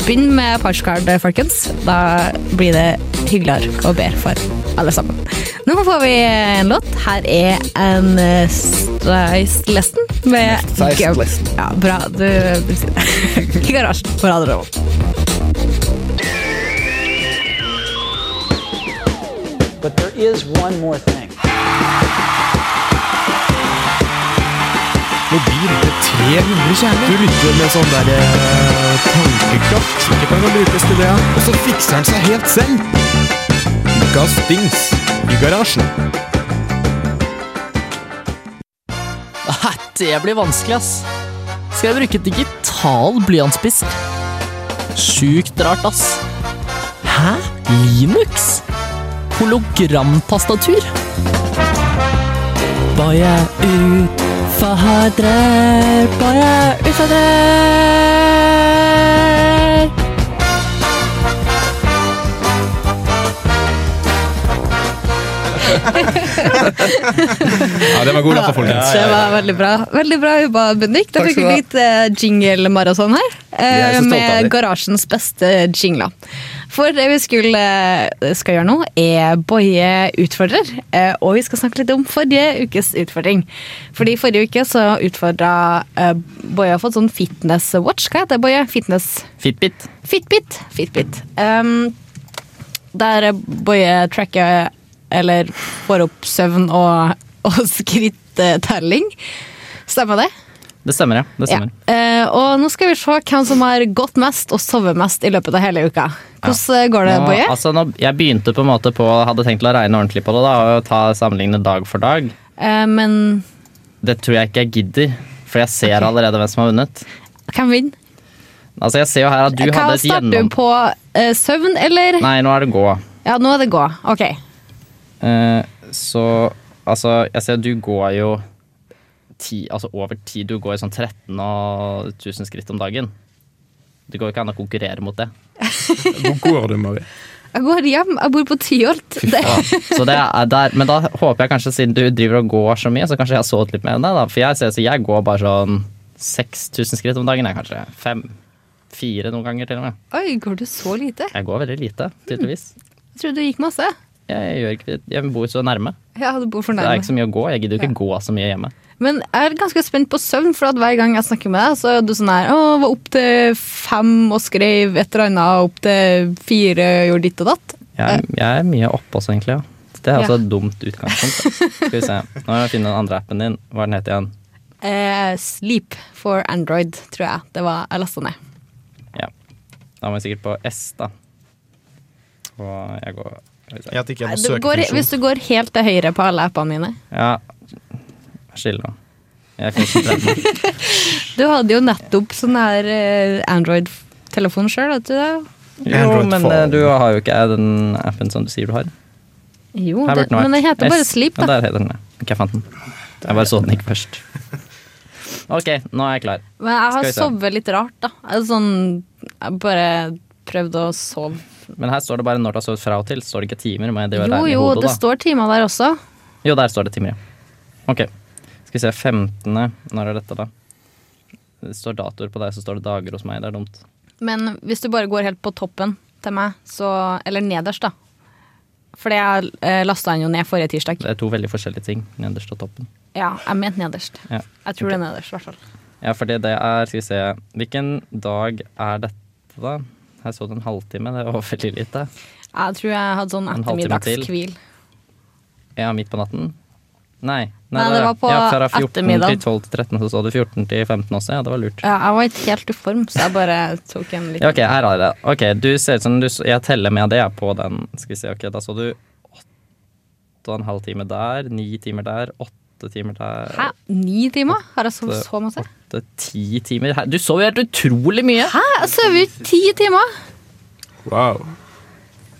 Speaker 1: begynn med punchcard, folkens. Da blir det hyggeligere og bedre for alle sammen. Nå får vi en låt. Her er en eh, Striced Lesson med
Speaker 3: Striced
Speaker 1: Gab-
Speaker 3: Lesson.
Speaker 1: Ja, bra. Du, du sier det. I garasjen på Radio Revolt.
Speaker 8: But there is one more thing.
Speaker 6: Nå blir det 300 kjerner. Du lytter med sånn der eh, tankekraft som ikke kan brukes til det. Og så fikser han seg helt selv. Ukas dings i garasjen.
Speaker 10: Nei, det blir vanskelig, ass. Skal jeg bruke digital blyantspiss? Sjukt rart, ass. Hæ? Linux? Hologramtastatur? Bare utfordrer, bare utfordrer.
Speaker 6: Ja, den var god, altså, folkens.
Speaker 1: Det var veldig bra. Veldig bra jobba, Bendik. Da
Speaker 3: Takk
Speaker 1: fikk
Speaker 3: skal
Speaker 1: vi
Speaker 3: du ha.
Speaker 1: litt eh, jingle-maraton her.
Speaker 4: er
Speaker 1: eh,
Speaker 4: så stolte av
Speaker 1: med
Speaker 4: dere.
Speaker 1: garasjens beste jingler. For det vi skulle, eh, skal gjøre nå, er Boje utfordrer. Eh, og vi skal snakke litt om forrige ukes utfordring. Fordi forrige uke så utfordra eh, Boje har fått sånn fitness-watch. Hva heter det, Boje? Fitness...
Speaker 9: Fitbit.
Speaker 1: Fitbit. Fitbit. Um, der Boje tracker eller får opp søvn og, og skrittelling. Stemmer det?
Speaker 9: Det stemmer, ja. Det
Speaker 1: Ja.
Speaker 9: stemmer.
Speaker 1: Eh, og nå skal vi se hvem som har gått mest og sovet mest i løpet av hele uka. Hvordan går det,
Speaker 9: Nå,
Speaker 1: Boje?
Speaker 9: altså, nå, jeg begynte på en måte på Hadde tenkt å regne ordentlig på det da, og ta sammenligne dag for dag.
Speaker 1: Eh, men
Speaker 9: Det tror jeg ikke jeg gidder, for jeg ser allerede hvem som har vunnet.
Speaker 1: hvem vinner?
Speaker 9: Altså, jeg ser jo her at du
Speaker 1: Hva
Speaker 9: hadde et
Speaker 1: starter
Speaker 9: gjennom...
Speaker 1: du på? eh, søvn, eller?
Speaker 9: Nei, nå er det gå.
Speaker 1: Ja, nå er det gå. Ok.
Speaker 9: Eh, så altså, jeg ser at du går jo ti, altså over ti. Du går jo sånn 13 og 1000 skritt om dagen. Det går jo ikke an å konkurrere mot det.
Speaker 6: Hvor går du, Mari?
Speaker 1: Jeg går hjem. Jeg bor på Tyholt. Det,
Speaker 9: Så det er der, men da håper jeg kanskje, siden du driver og går så mye, så kanskje jeg har sovet litt mer enn deg. da. For jeg ser så jeg går bare sånn 6000 skritt om dagen, jeg, kanskje. Fem. Fire noen ganger, til og med.
Speaker 1: oi, går du så lite?
Speaker 9: Jeg går veldig lite, tydeligvis.
Speaker 1: Jeg trodde du gikk masse.
Speaker 9: Jeg, jeg, gjør ikke, jeg bor så nærme.
Speaker 1: Ja, du bor for
Speaker 9: Det er
Speaker 1: nærme.
Speaker 9: ikke så mye å gå. Jeg gidder jo ikke gå så mye hjemme.
Speaker 1: Men jeg er ganske spent på søvn, for at hver gang jeg snakker med deg, så er du sånn her Å, var opp til fem og skrev et eller annet, opp til fire gjorde ditt og datt.
Speaker 9: Jeg, jeg er mye oppe også, egentlig. Ja. Det er også et dumt utgangspunkt. da. Skal vi se. Nå må jeg finne den andre appen din. Hva er den het igjen?
Speaker 1: Eh, sleep for Android, tror jeg. Det var Jeg lasta ned.
Speaker 9: Ja. Da må jeg sikkert på S, da. Og jeg går skal vi se.
Speaker 2: Jeg at ikke jeg
Speaker 1: Nei,
Speaker 2: må
Speaker 1: det
Speaker 2: søke
Speaker 1: går,
Speaker 2: funksjon.
Speaker 1: hvis du går helt til høyre på alle appene mine
Speaker 9: Ja. Skill nå. Jeg er 14-13 nå.
Speaker 1: Du hadde jo nettopp sånn her eh, Android-telefon sjøl, vet du det?
Speaker 9: Jo,
Speaker 2: Android
Speaker 9: men
Speaker 2: phone.
Speaker 9: eh, du har jo ikke den appen som du sier du har.
Speaker 1: Jo,
Speaker 9: Her
Speaker 1: det,
Speaker 9: borte nå,
Speaker 1: men den heter bare
Speaker 9: S.
Speaker 1: Sleep,
Speaker 9: Ja,
Speaker 1: da.
Speaker 9: der heter den, ja. Ok, jeg fant den. Jeg bare så den ikke først. Ok, nå er jeg klar.
Speaker 1: Men jeg har
Speaker 9: Skal vi se.
Speaker 1: sovet litt rart, da. Jeg er Sånn Jeg bare prøvde å sove.
Speaker 9: Men her står det bare når du har sovet fra og til. Står det ikke timer? Må jeg drive
Speaker 1: Jo,
Speaker 9: og regne i
Speaker 1: jo,
Speaker 9: hodet,
Speaker 1: det
Speaker 9: da?
Speaker 1: står timer der også.
Speaker 9: Jo, der står det timer, ja. Ok. Skal vi se, 15. Når er dette, da? Det står datoer på deg, så står det dager hos meg. Det er dumt.
Speaker 1: Men hvis du bare går helt på toppen til meg, så Eller nederst, da. For jeg eh, lasta den jo ned forrige tirsdag.
Speaker 9: Det er to veldig forskjellige ting. Nederst og toppen.
Speaker 1: Ja, jeg mente nederst.
Speaker 9: Ja.
Speaker 1: Jeg tror det er nederst, i hvert fall.
Speaker 9: ja, fordi det er Skal vi se. Hvilken dag er dette, da? Her så du en halvtime. Det var veldig lite.
Speaker 1: Jeg tror jeg hadde sånn
Speaker 9: En halvtime til.
Speaker 1: ettermiddagskvil.
Speaker 9: Ja, midt på natten? Nei.
Speaker 1: Nei,
Speaker 9: der,
Speaker 1: det
Speaker 9: ja.
Speaker 1: var på
Speaker 9: ja, fra 14
Speaker 1: ettermiddag.
Speaker 9: til 12 til 13, så så du 14 til 15 også. Ja, det var lurt.
Speaker 1: Ja, jeg var ikke helt i form, så jeg bare tok en
Speaker 9: Ja,
Speaker 1: liten
Speaker 9: ok, her har jeg det. Ok, du ser ut som du, Jeg teller med det på den. Skal vi se, ok, Da så du åtte og en halv time der, ni timer der, åtte timer der
Speaker 1: Hæ, ni timer? Har jeg sovet
Speaker 9: åtte-
Speaker 1: så masse?
Speaker 9: Åtte, ti timer her. Du sov jo helt utrolig mye!
Speaker 1: Hæ, jeg sover jo ti timer!
Speaker 6: Wow.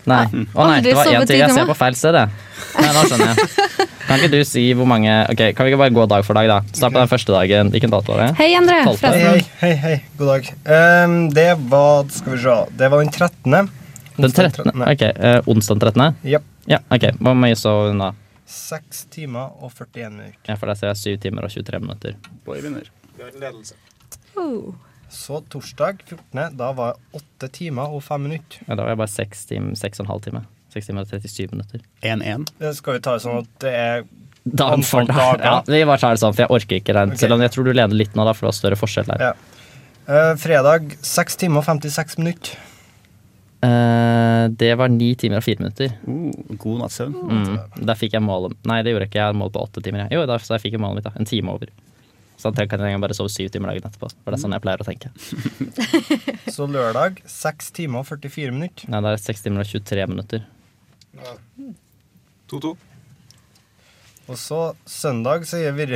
Speaker 9: Nei. Å nei,
Speaker 1: Aldri
Speaker 9: det var
Speaker 1: sovet
Speaker 9: én
Speaker 1: ti
Speaker 9: til. Jeg ser
Speaker 1: timer.
Speaker 9: på feil sted, jeg. Nei, nå skjønner jeg. Kan ikke du si hvor mange Ok, Kan vi ikke bare gå dag for dag, da? Start på den første dagen. Hvilken dato var det?
Speaker 1: Hei, Endre.
Speaker 9: Tolvte.
Speaker 11: Hei,
Speaker 1: Forresten.
Speaker 11: hei, hei, hei. god dag. Ehm, det var Skal vi se. Det var den 13.
Speaker 9: Den 13. Ok, eh, Onsdag den 13.?
Speaker 11: Japp.
Speaker 9: Ja, ok. Hvor mye sov hun da?
Speaker 11: 6 timer og 41 minutter.
Speaker 9: Ja, For der ser jeg 7 timer og 23 minutter.
Speaker 11: Så torsdag 14. Da var jeg 8 timer og 5 minutter.
Speaker 9: Ja, da var jeg bare 6 timer, 6,5 timer. 6 timer og 37 minutter. 1-1.
Speaker 11: Det skal vi ta det sånn at det er
Speaker 9: Dagen for
Speaker 11: antall
Speaker 9: dag. Ja,
Speaker 11: dager.
Speaker 9: vi bare tar det sånn, for jeg orker ikke den.
Speaker 11: Ok.
Speaker 9: Selv om jeg tror du leder litt nå, da, for det var større forskjell der.
Speaker 11: Ja. Eh, fredag 6 timer og 56 minutter.
Speaker 9: Eh, det var 9 timer og 4 minutter. god natts søvn. Mm, der fikk jeg målet. Nei, det gjorde jeg ikke. Jeg hadde mål på 8 timer. jeg. Jo, da, så jeg fikk jo målet mitt, da. En time over. Så jeg kan jeg bare sove 7 timer dagen etterpå. For det er sånn jeg pleier å tenke.
Speaker 11: Så lørdag 6 timer og 44 minutter.
Speaker 9: Nei, det er 6 timer og 23 minutter.
Speaker 11: 2-2. Og så søndag så er vi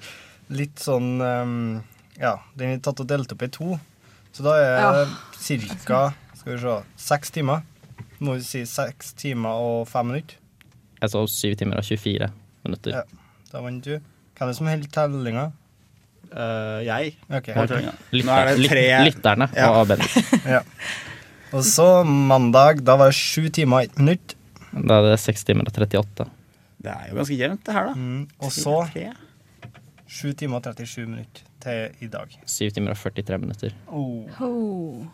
Speaker 11: litt sånn ehm, Ja, den er tatt og delt opp i to. Så da er
Speaker 12: Ja.
Speaker 11: det ca. Skal vi se seks timer. Må vi si seks timer og fem minutter.
Speaker 9: Jeg sov 7 timer og 24 minutter.
Speaker 11: Ja, da vant du. Hvem er det som holder tellinga? Eh, jeg.
Speaker 9: Nå er det tre- Lytterne og Bendik.
Speaker 11: ja. Og så mandag, da var det sju timer og ett minutt.
Speaker 9: Da er det 6 timer og 38.
Speaker 4: Det er jo ganske jevnt, det her, da.
Speaker 11: Mm, og så sju timer og 37 minutter til i dag.
Speaker 9: 7 timer og 43 minutter.
Speaker 11: Oh.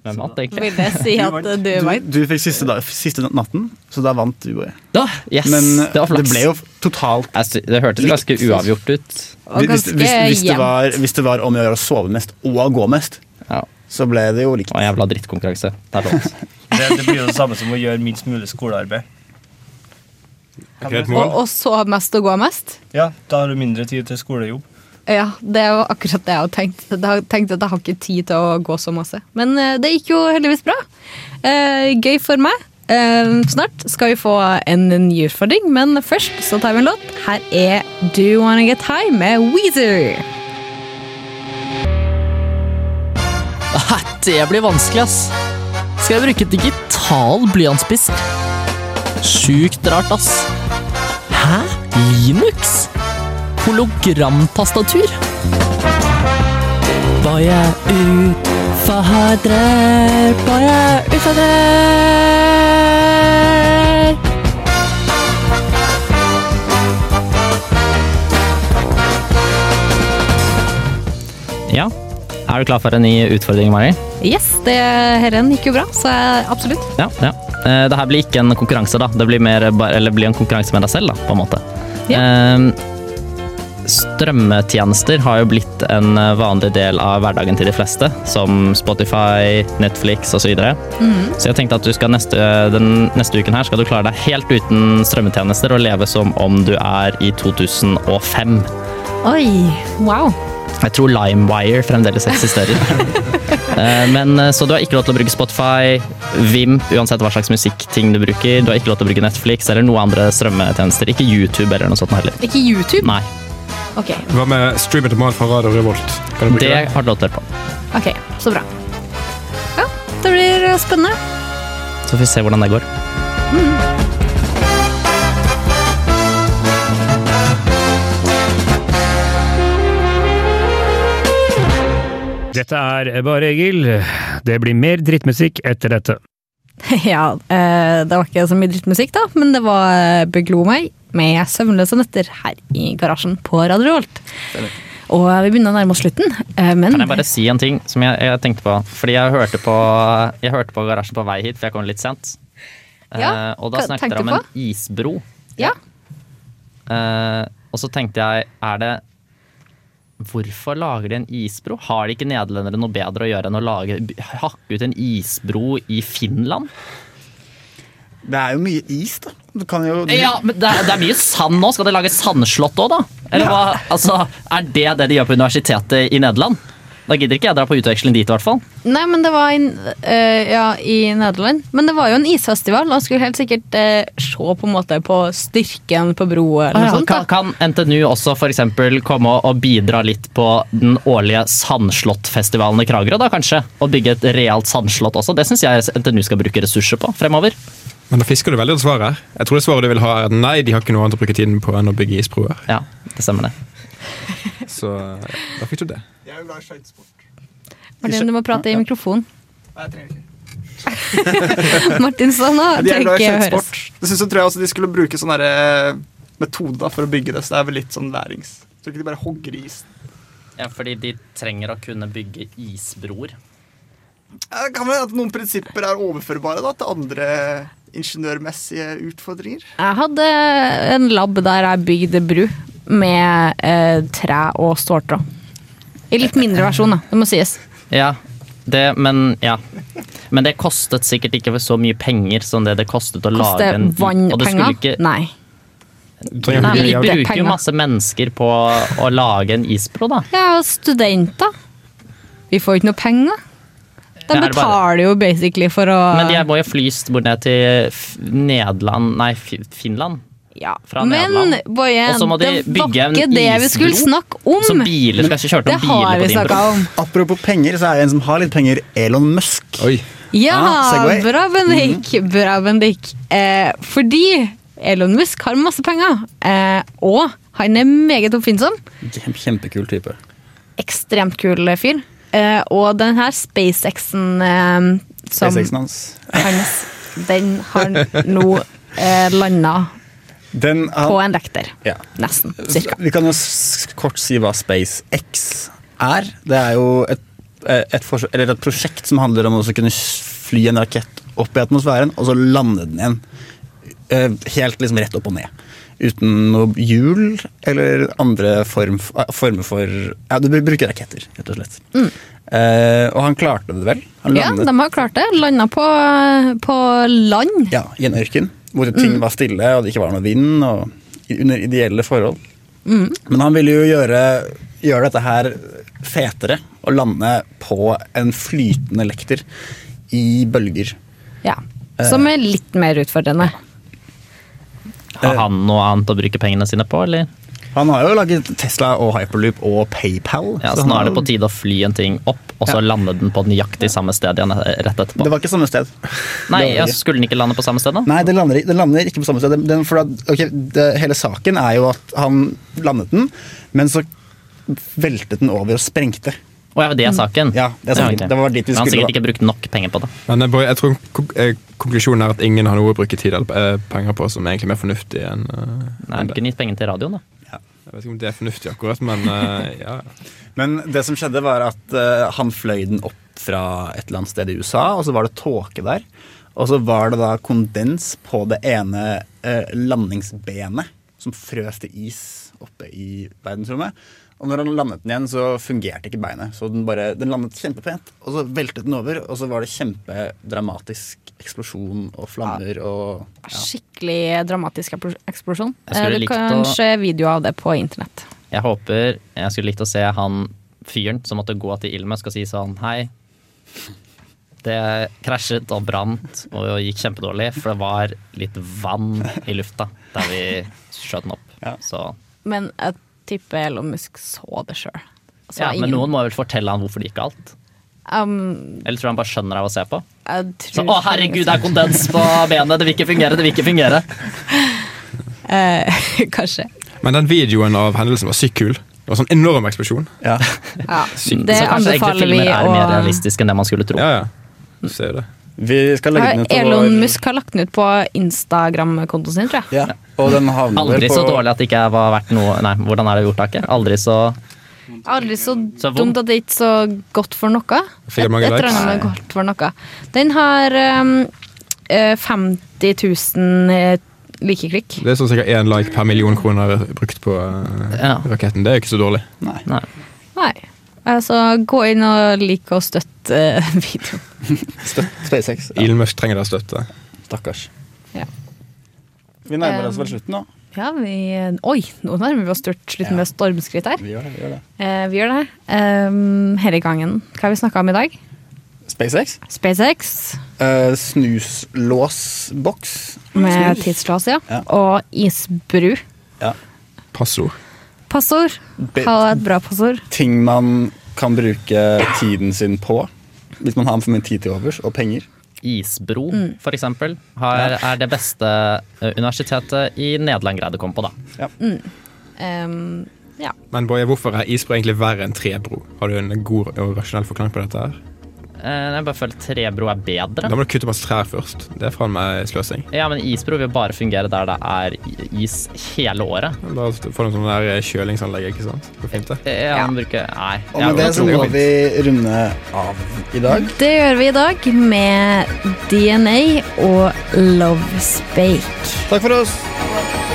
Speaker 9: Hvem vant, egentlig?
Speaker 1: Vil det si at du vant?
Speaker 4: Du fikk siste, dag, siste natten, så da vant du, Boje.
Speaker 9: Da, yes,
Speaker 4: Men eh,
Speaker 9: det var flaks.
Speaker 4: det ble jo totalt
Speaker 9: Det hørtes ganske uavgjort
Speaker 1: Og
Speaker 9: ut.
Speaker 4: Hvis, hvis,
Speaker 1: ganske
Speaker 4: hvis, det
Speaker 1: jevnt.
Speaker 4: var, hvis det var om å gjøre å sove mest og å gå mest, så ble det jo likt.
Speaker 9: Det var en jævla drittkonkurranse. Det er lov.
Speaker 11: Det, det blir jo det samme som å gjøre minst mulig skolearbeid.
Speaker 1: Og, og så mest og gå mest?
Speaker 11: Ja, da har du mindre tid til skolejobb.
Speaker 1: Ja, det er jo akkurat det jeg har tenkt. Jeg har tenkt at jeg har ikke tid til å gå så masse. Men eh, det gikk jo heldigvis bra. Eh, gøy for meg. Eh, snart skal vi få en ny utfordring, men først så tar vi en låt. Her er Do You Wanna Get High med Weezer.
Speaker 10: Hæ, det blir vanskelig, ass. Skal jeg bruke digital blyantspisk? Sjukt rart, ass. Hæ? Linux? Hologramtastatur? Var jeg utfadrer? Var jeg utfadrer?
Speaker 9: Ja. Er du klar for en ny utfordring, Mari?
Speaker 1: Yes, det herren gikk jo bra, så jeg, absolutt.
Speaker 9: Ja. ja. Eh, Det her blir ikke en konkurranse, da. Det blir, mer, bare- eller blir en konkurranse med deg selv, da, på en måte. Eh, Strømmetjenester har jo blitt en eh, vanlig del av hverdagen til de fleste, som Spotify, Netflix osv. Så, videre.
Speaker 10: Mhm.
Speaker 9: så jeg tenkte at du skal neste, eh, den neste uken her skal du klare deg helt uten strømmetjenester og leve som om du er i 2005.
Speaker 1: Oi, wow.
Speaker 9: Jeg tror LimeWire fremdeles eksisterer. Eh, Men, eh, så du har ikke lov til å bruke Spotify, Vimp, uansett hva slags musikkting du bruker. Du har ikke lov til å bruke Netflix eller noen andre strømmetjenester. Ikke YouTube eller noe sånt heller.
Speaker 1: Ikke YouTube?
Speaker 9: Nei,
Speaker 1: Ok,
Speaker 6: Hva med Streamer til Mar fra Radio Revolt? Kan du bruke
Speaker 9: det har du lov til å høre på.
Speaker 1: ok, så bra. Ja, det blir spennende.
Speaker 9: Så får vi se hvordan det går.
Speaker 13: Dette er bare Egil. Det blir mer drittmusikk etter dette.
Speaker 1: Ja, eh, det var ikke så mye drittmusikk da, men det var eh, Beglo meg med Søvnløse nøtter her i garasjen på Radio Revolt. Og vi begynner å nærme oss slutten, eh, men
Speaker 9: Kan jeg bare si en ting som jeg, jeg tenkte på? Fordi jeg hørte på, jeg hørte på Garasjen på vei hit, for jeg kom litt sent. Eh,
Speaker 1: Ja,
Speaker 9: og da
Speaker 1: hva
Speaker 9: snakket
Speaker 1: tenkte
Speaker 9: dere om
Speaker 1: du
Speaker 9: en isbro.
Speaker 1: Ja.
Speaker 9: Eh, og så tenkte jeg, er det Hvorfor lager de en isbro? Har de ikke nederlendere noe bedre å gjøre enn å lage, b- hakke ut en isbro i Finland?
Speaker 4: Det er jo mye is, da. Du kan jo
Speaker 9: Ja, men det er, det er mye sand nå. Skal de lage sandslott òg, da? Eller hva? Altså, er det det de gjør på universitetet i Nederland? Da gidder ikke jeg dra på utveksling dit, i hvert fall.
Speaker 1: Nei, men det var i, eh, ja, i Nederland. Men det var jo en isfestival, og skulle helt sikkert eh, se på en måte på styrken på broa eller
Speaker 9: Ah,
Speaker 1: noe
Speaker 9: ja.
Speaker 1: sånt.
Speaker 9: kan, kan NTNU også for eksempel komme og- og bidra litt på den årlige Sandslåttfestivalen i Kragerø, da kanskje? Og bygge et realt sandslott også. Det syns jeg NTNU skal bruke ressurser på fremover.
Speaker 12: Men da fisker du veldig et svar her. Jeg tror det svaret du vil ha er at nei, de har ikke noe annet å bruke tiden på enn å bygge isbroer.
Speaker 9: Ja, det stemmer det.
Speaker 12: Så ja,
Speaker 6: eh,
Speaker 12: da fikk du det.
Speaker 3: Jeg er jo glad i skøytesport.
Speaker 1: Martin, du må prate i mikrofonen.
Speaker 3: Nei, jeg trenger ikke.
Speaker 1: Martin sånn, sa nå,
Speaker 3: De
Speaker 1: trenger
Speaker 3: er glad i
Speaker 1: ikke høres.
Speaker 3: skøytesport. Dessuten så tror jeg også de skulle bruke sånne her, eh, metoder da, for å bygge det, så det er vel litt sånn lærings. Tror ikke de bare hogger i isen.
Speaker 9: Ja, fordi de trenger å kunne bygge isbroer.
Speaker 3: Eh, Kan vel hende at noen prinsipper er overførbare da, til andre ingeniørmessige utfordringer.
Speaker 1: Jeg hadde en lab der jeg bygde bru med eh, tre og ståltråd. I litt mindre versjon, da. Det må sies.
Speaker 9: Ja, det, men ja. Men det kostet sikkert ikke så mye penger som det det kostet å lage
Speaker 1: Koste
Speaker 9: en og det skulle
Speaker 1: vannpenger?
Speaker 9: ikke-
Speaker 1: Nei.
Speaker 9: Nei, men
Speaker 1: Nei,
Speaker 9: vi
Speaker 1: men
Speaker 9: bruker
Speaker 1: penger.
Speaker 9: jo masse mennesker på å lage en isbro, da.
Speaker 1: Jeg er jo studenter. Vi får jo ikke noe penger. De
Speaker 9: Ja, er det bare-
Speaker 1: betaler jo basically for å
Speaker 9: Men de må jo flys bort ned til F- Nederland Nei, Fi- Finland. Fra
Speaker 1: Men
Speaker 9: Nederland.
Speaker 1: Boje,
Speaker 9: Og så må de
Speaker 1: det var
Speaker 9: bygge en
Speaker 1: ikke det vi skulle
Speaker 9: isbro
Speaker 1: snakke om!
Speaker 9: som biler skal ikke kjøre til
Speaker 1: det har vi snakka om.
Speaker 4: Apropos penger, så er det en som har litt penger, Elon Musk.
Speaker 1: Ja,
Speaker 4: Ah, Segway. Mm.
Speaker 1: bra Bendik. Bra Bendik. Eh, fordi Elon Musk har masse penger, eh, og han er meget oppfinnsom.
Speaker 4: Kjem- Kjempekul type.
Speaker 1: Ekstremt kul fyr. Eh, og den her SpaceX-en eh, som
Speaker 4: SpaceX-en hans.
Speaker 1: hans, den har nå eh, landa
Speaker 4: Den, han-
Speaker 1: på en lekter.
Speaker 4: Ja.
Speaker 1: Nesten, cirka.
Speaker 4: Vi kan jo s- kort si hva SpaceX er. Det er jo et, eh, et, forsøk- eller et prosjekt som handler om å kunne fly en rakett opp i atmosfæren, og så lande den igjen. Eh, Helt liksom rett opp og ned. Uten noe hjul eller andre form, eh, former for Ja, du bruker raketter, rett og slett.
Speaker 1: Mm.
Speaker 4: Eh, og han klarte det vel? Han
Speaker 1: Ja,
Speaker 4: landet
Speaker 1: de har klart det. Landa på, på land.
Speaker 4: ja, i en ørken, hvor ting var stille og det ikke var noe vind, og i- under ideelle forhold.
Speaker 1: Mm.
Speaker 4: Men han ville jo gjøre, gjøre dette her fetere og lande på en flytende lekter i bølger.
Speaker 1: Ja.
Speaker 4: Eh.
Speaker 1: Som er litt mer utfordrende.
Speaker 9: Har han noe annet å bruke pengene sine på, eller?
Speaker 4: Han har jo laget Tesla og Hyperloop og PayPal.
Speaker 9: Ja,
Speaker 4: så
Speaker 9: så nå
Speaker 4: han-
Speaker 9: er det på tide å fly en ting opp, og så lande den på nøyaktig samme sted igjen eh, rett etterpå.
Speaker 4: Det var ikke samme sted.
Speaker 9: Nei,
Speaker 4: Det var
Speaker 9: ja,
Speaker 4: ikke.
Speaker 9: skulle den ikke lande på samme sted, da?
Speaker 4: Nei, den lander, den lander ikke på samme sted. Den, den, for at, ok, det, hele saken er jo at han landet den, men så veltet den over og sprengte.
Speaker 9: Å ja, det er saken?
Speaker 4: Mm. Ja, det er saken.
Speaker 9: ok.
Speaker 4: Det var dit vi
Speaker 9: Men Han har
Speaker 4: skulle,
Speaker 9: sikkert ikke brukt nok penger på det.
Speaker 12: Men eh, Boy, jeg tror kon- eh, konklusjonen er at ingen har noe å bruke tid eller eh, penger på som er egentlig mer fornuftig enn eh,
Speaker 9: Nei, du kunne gitt penger til radioen, da.
Speaker 12: Jeg vet ikke om det er fornuftig akkurat, men eh, ja.
Speaker 4: Men det som skjedde var at eh, han fløy den opp fra et eller annet sted i USA, og så var det tåke der. Og så var det da kondens på det ene eh, landingsbenet som frøs til is oppe i verdensrommet. Og når han landet den igjen, så fungerte ikke beinet. Så den, bare, den landet kjempepent, og så veltet den over, og så var det kjempedramatisk eksplosjon og flammer og
Speaker 1: Skikkelig dramatisk eplo- eksplosjon.
Speaker 9: Jeg skulle
Speaker 1: Eh, Du
Speaker 9: likt
Speaker 1: kan
Speaker 9: å-
Speaker 1: se video av det på internett.
Speaker 9: Jeg håper Jeg skulle likt å se han fyren som måtte gå til Ilme og si sånn Hei, det krasjet og brant og gikk kjempedårlig, for det var litt vann i lufta der vi skjøt den opp. Så
Speaker 1: Men jeg tipper Elon Musk så det sjøl.
Speaker 9: ja, Men noen må vel fortelle han hvorfor det gikk galt?
Speaker 1: um,
Speaker 9: Eller tror du han bare skjønner av å se på?
Speaker 1: jeg
Speaker 9: Så,
Speaker 1: tror
Speaker 9: å herregud, det er kondens på benet, det vil ikke fungere, det vil ikke fungere.
Speaker 1: Eh, kanskje.
Speaker 12: Men den videoen av hendelsen var sykt kul. Det var sånn enorm eksplosjon.
Speaker 4: Ja.
Speaker 1: Ja,
Speaker 12: Sykt.
Speaker 1: det
Speaker 9: Så kanskje egentlig
Speaker 1: anbefaler vi
Speaker 9: filmer er mer
Speaker 1: å
Speaker 9: realistisk enn det man skulle tro.
Speaker 12: Ja, ja. Du ser jo det.
Speaker 4: Vi skal legge den ut på
Speaker 1: Elon
Speaker 4: vår-
Speaker 1: Musk har lagt den ut på Instagram-kontoen sin, tror jeg.
Speaker 4: Ja, og den havner vel
Speaker 9: Aldri så
Speaker 4: på-
Speaker 9: dårlig at det ikke var verdt noe Nei, hvordan er det ordtaket? Aldri så
Speaker 1: Aldri så,
Speaker 9: Så vondt.
Speaker 1: dumt at det ikke er så godt for noe.
Speaker 9: Fikk jeg mange
Speaker 1: Et- et eller
Speaker 9: likes?
Speaker 1: annet med godt for noe. Den har um, eh, 50 000 eh, likeklikk.
Speaker 12: Det er sånn sikkert én like per million kroner brukt på eh, raketten. Det er jo ikke så dårlig.
Speaker 9: Nei.
Speaker 1: Nei. Altså, gå inn og like og støtt eh, videoen.
Speaker 4: SpaceX.
Speaker 12: Ja. Elon Musk trenger da støtte.
Speaker 4: Stakkars.
Speaker 1: Ja.
Speaker 4: Vi nærmer oss
Speaker 1: Um,
Speaker 4: vel slutten nå.
Speaker 1: Ja, vi Oi, nå nærmer vi oss stort slutten med stormskritt her.
Speaker 4: Vi gjør det, vi gjør det.
Speaker 1: Eh, vi gjør det. Um, Hele gangen. Hva har vi snakka om i dag?
Speaker 4: SpaceX.
Speaker 1: SpaceX
Speaker 4: Eh, snuslåsboks.
Speaker 1: med
Speaker 4: Snus.
Speaker 1: tidslås, ja. Og isbru.
Speaker 4: Ja.
Speaker 12: Passord.
Speaker 1: Passord.
Speaker 4: Be-
Speaker 1: Ha et bra passord.
Speaker 4: Ting man kan bruke tiden sin på hvis man har for mye tid til overs, og penger.
Speaker 9: isbro,
Speaker 1: Mm.
Speaker 9: for eksempel, har, er det beste eh, universitetet i Nederland greide å komme på, da.
Speaker 1: Mm. Ehm, ja.
Speaker 6: Men Boje, hvorfor er isbro egentlig verre enn trebro? Har du en god og rasjonell forklaring på dette? her?
Speaker 9: Eh, Jeg bare føler trebro er
Speaker 6: Da
Speaker 9: bedre.
Speaker 6: må du kutte masse trær først. Det er faen meg sløsing.
Speaker 9: Ja, men isbro vil bare fungere der det er i- is hele året.
Speaker 6: Da får du sånn der kjølingsanlegg, ikke sant? Det går fint, det.
Speaker 9: Ja, men bruker, nei.
Speaker 6: Og
Speaker 9: ja,
Speaker 6: med det
Speaker 9: jeg
Speaker 6: så
Speaker 4: sånn-
Speaker 9: tror
Speaker 6: må
Speaker 9: går fint.
Speaker 4: Vi runder av i dag.
Speaker 1: Det gjør vi i dag med DNA og Love Spake.
Speaker 4: Takk for oss.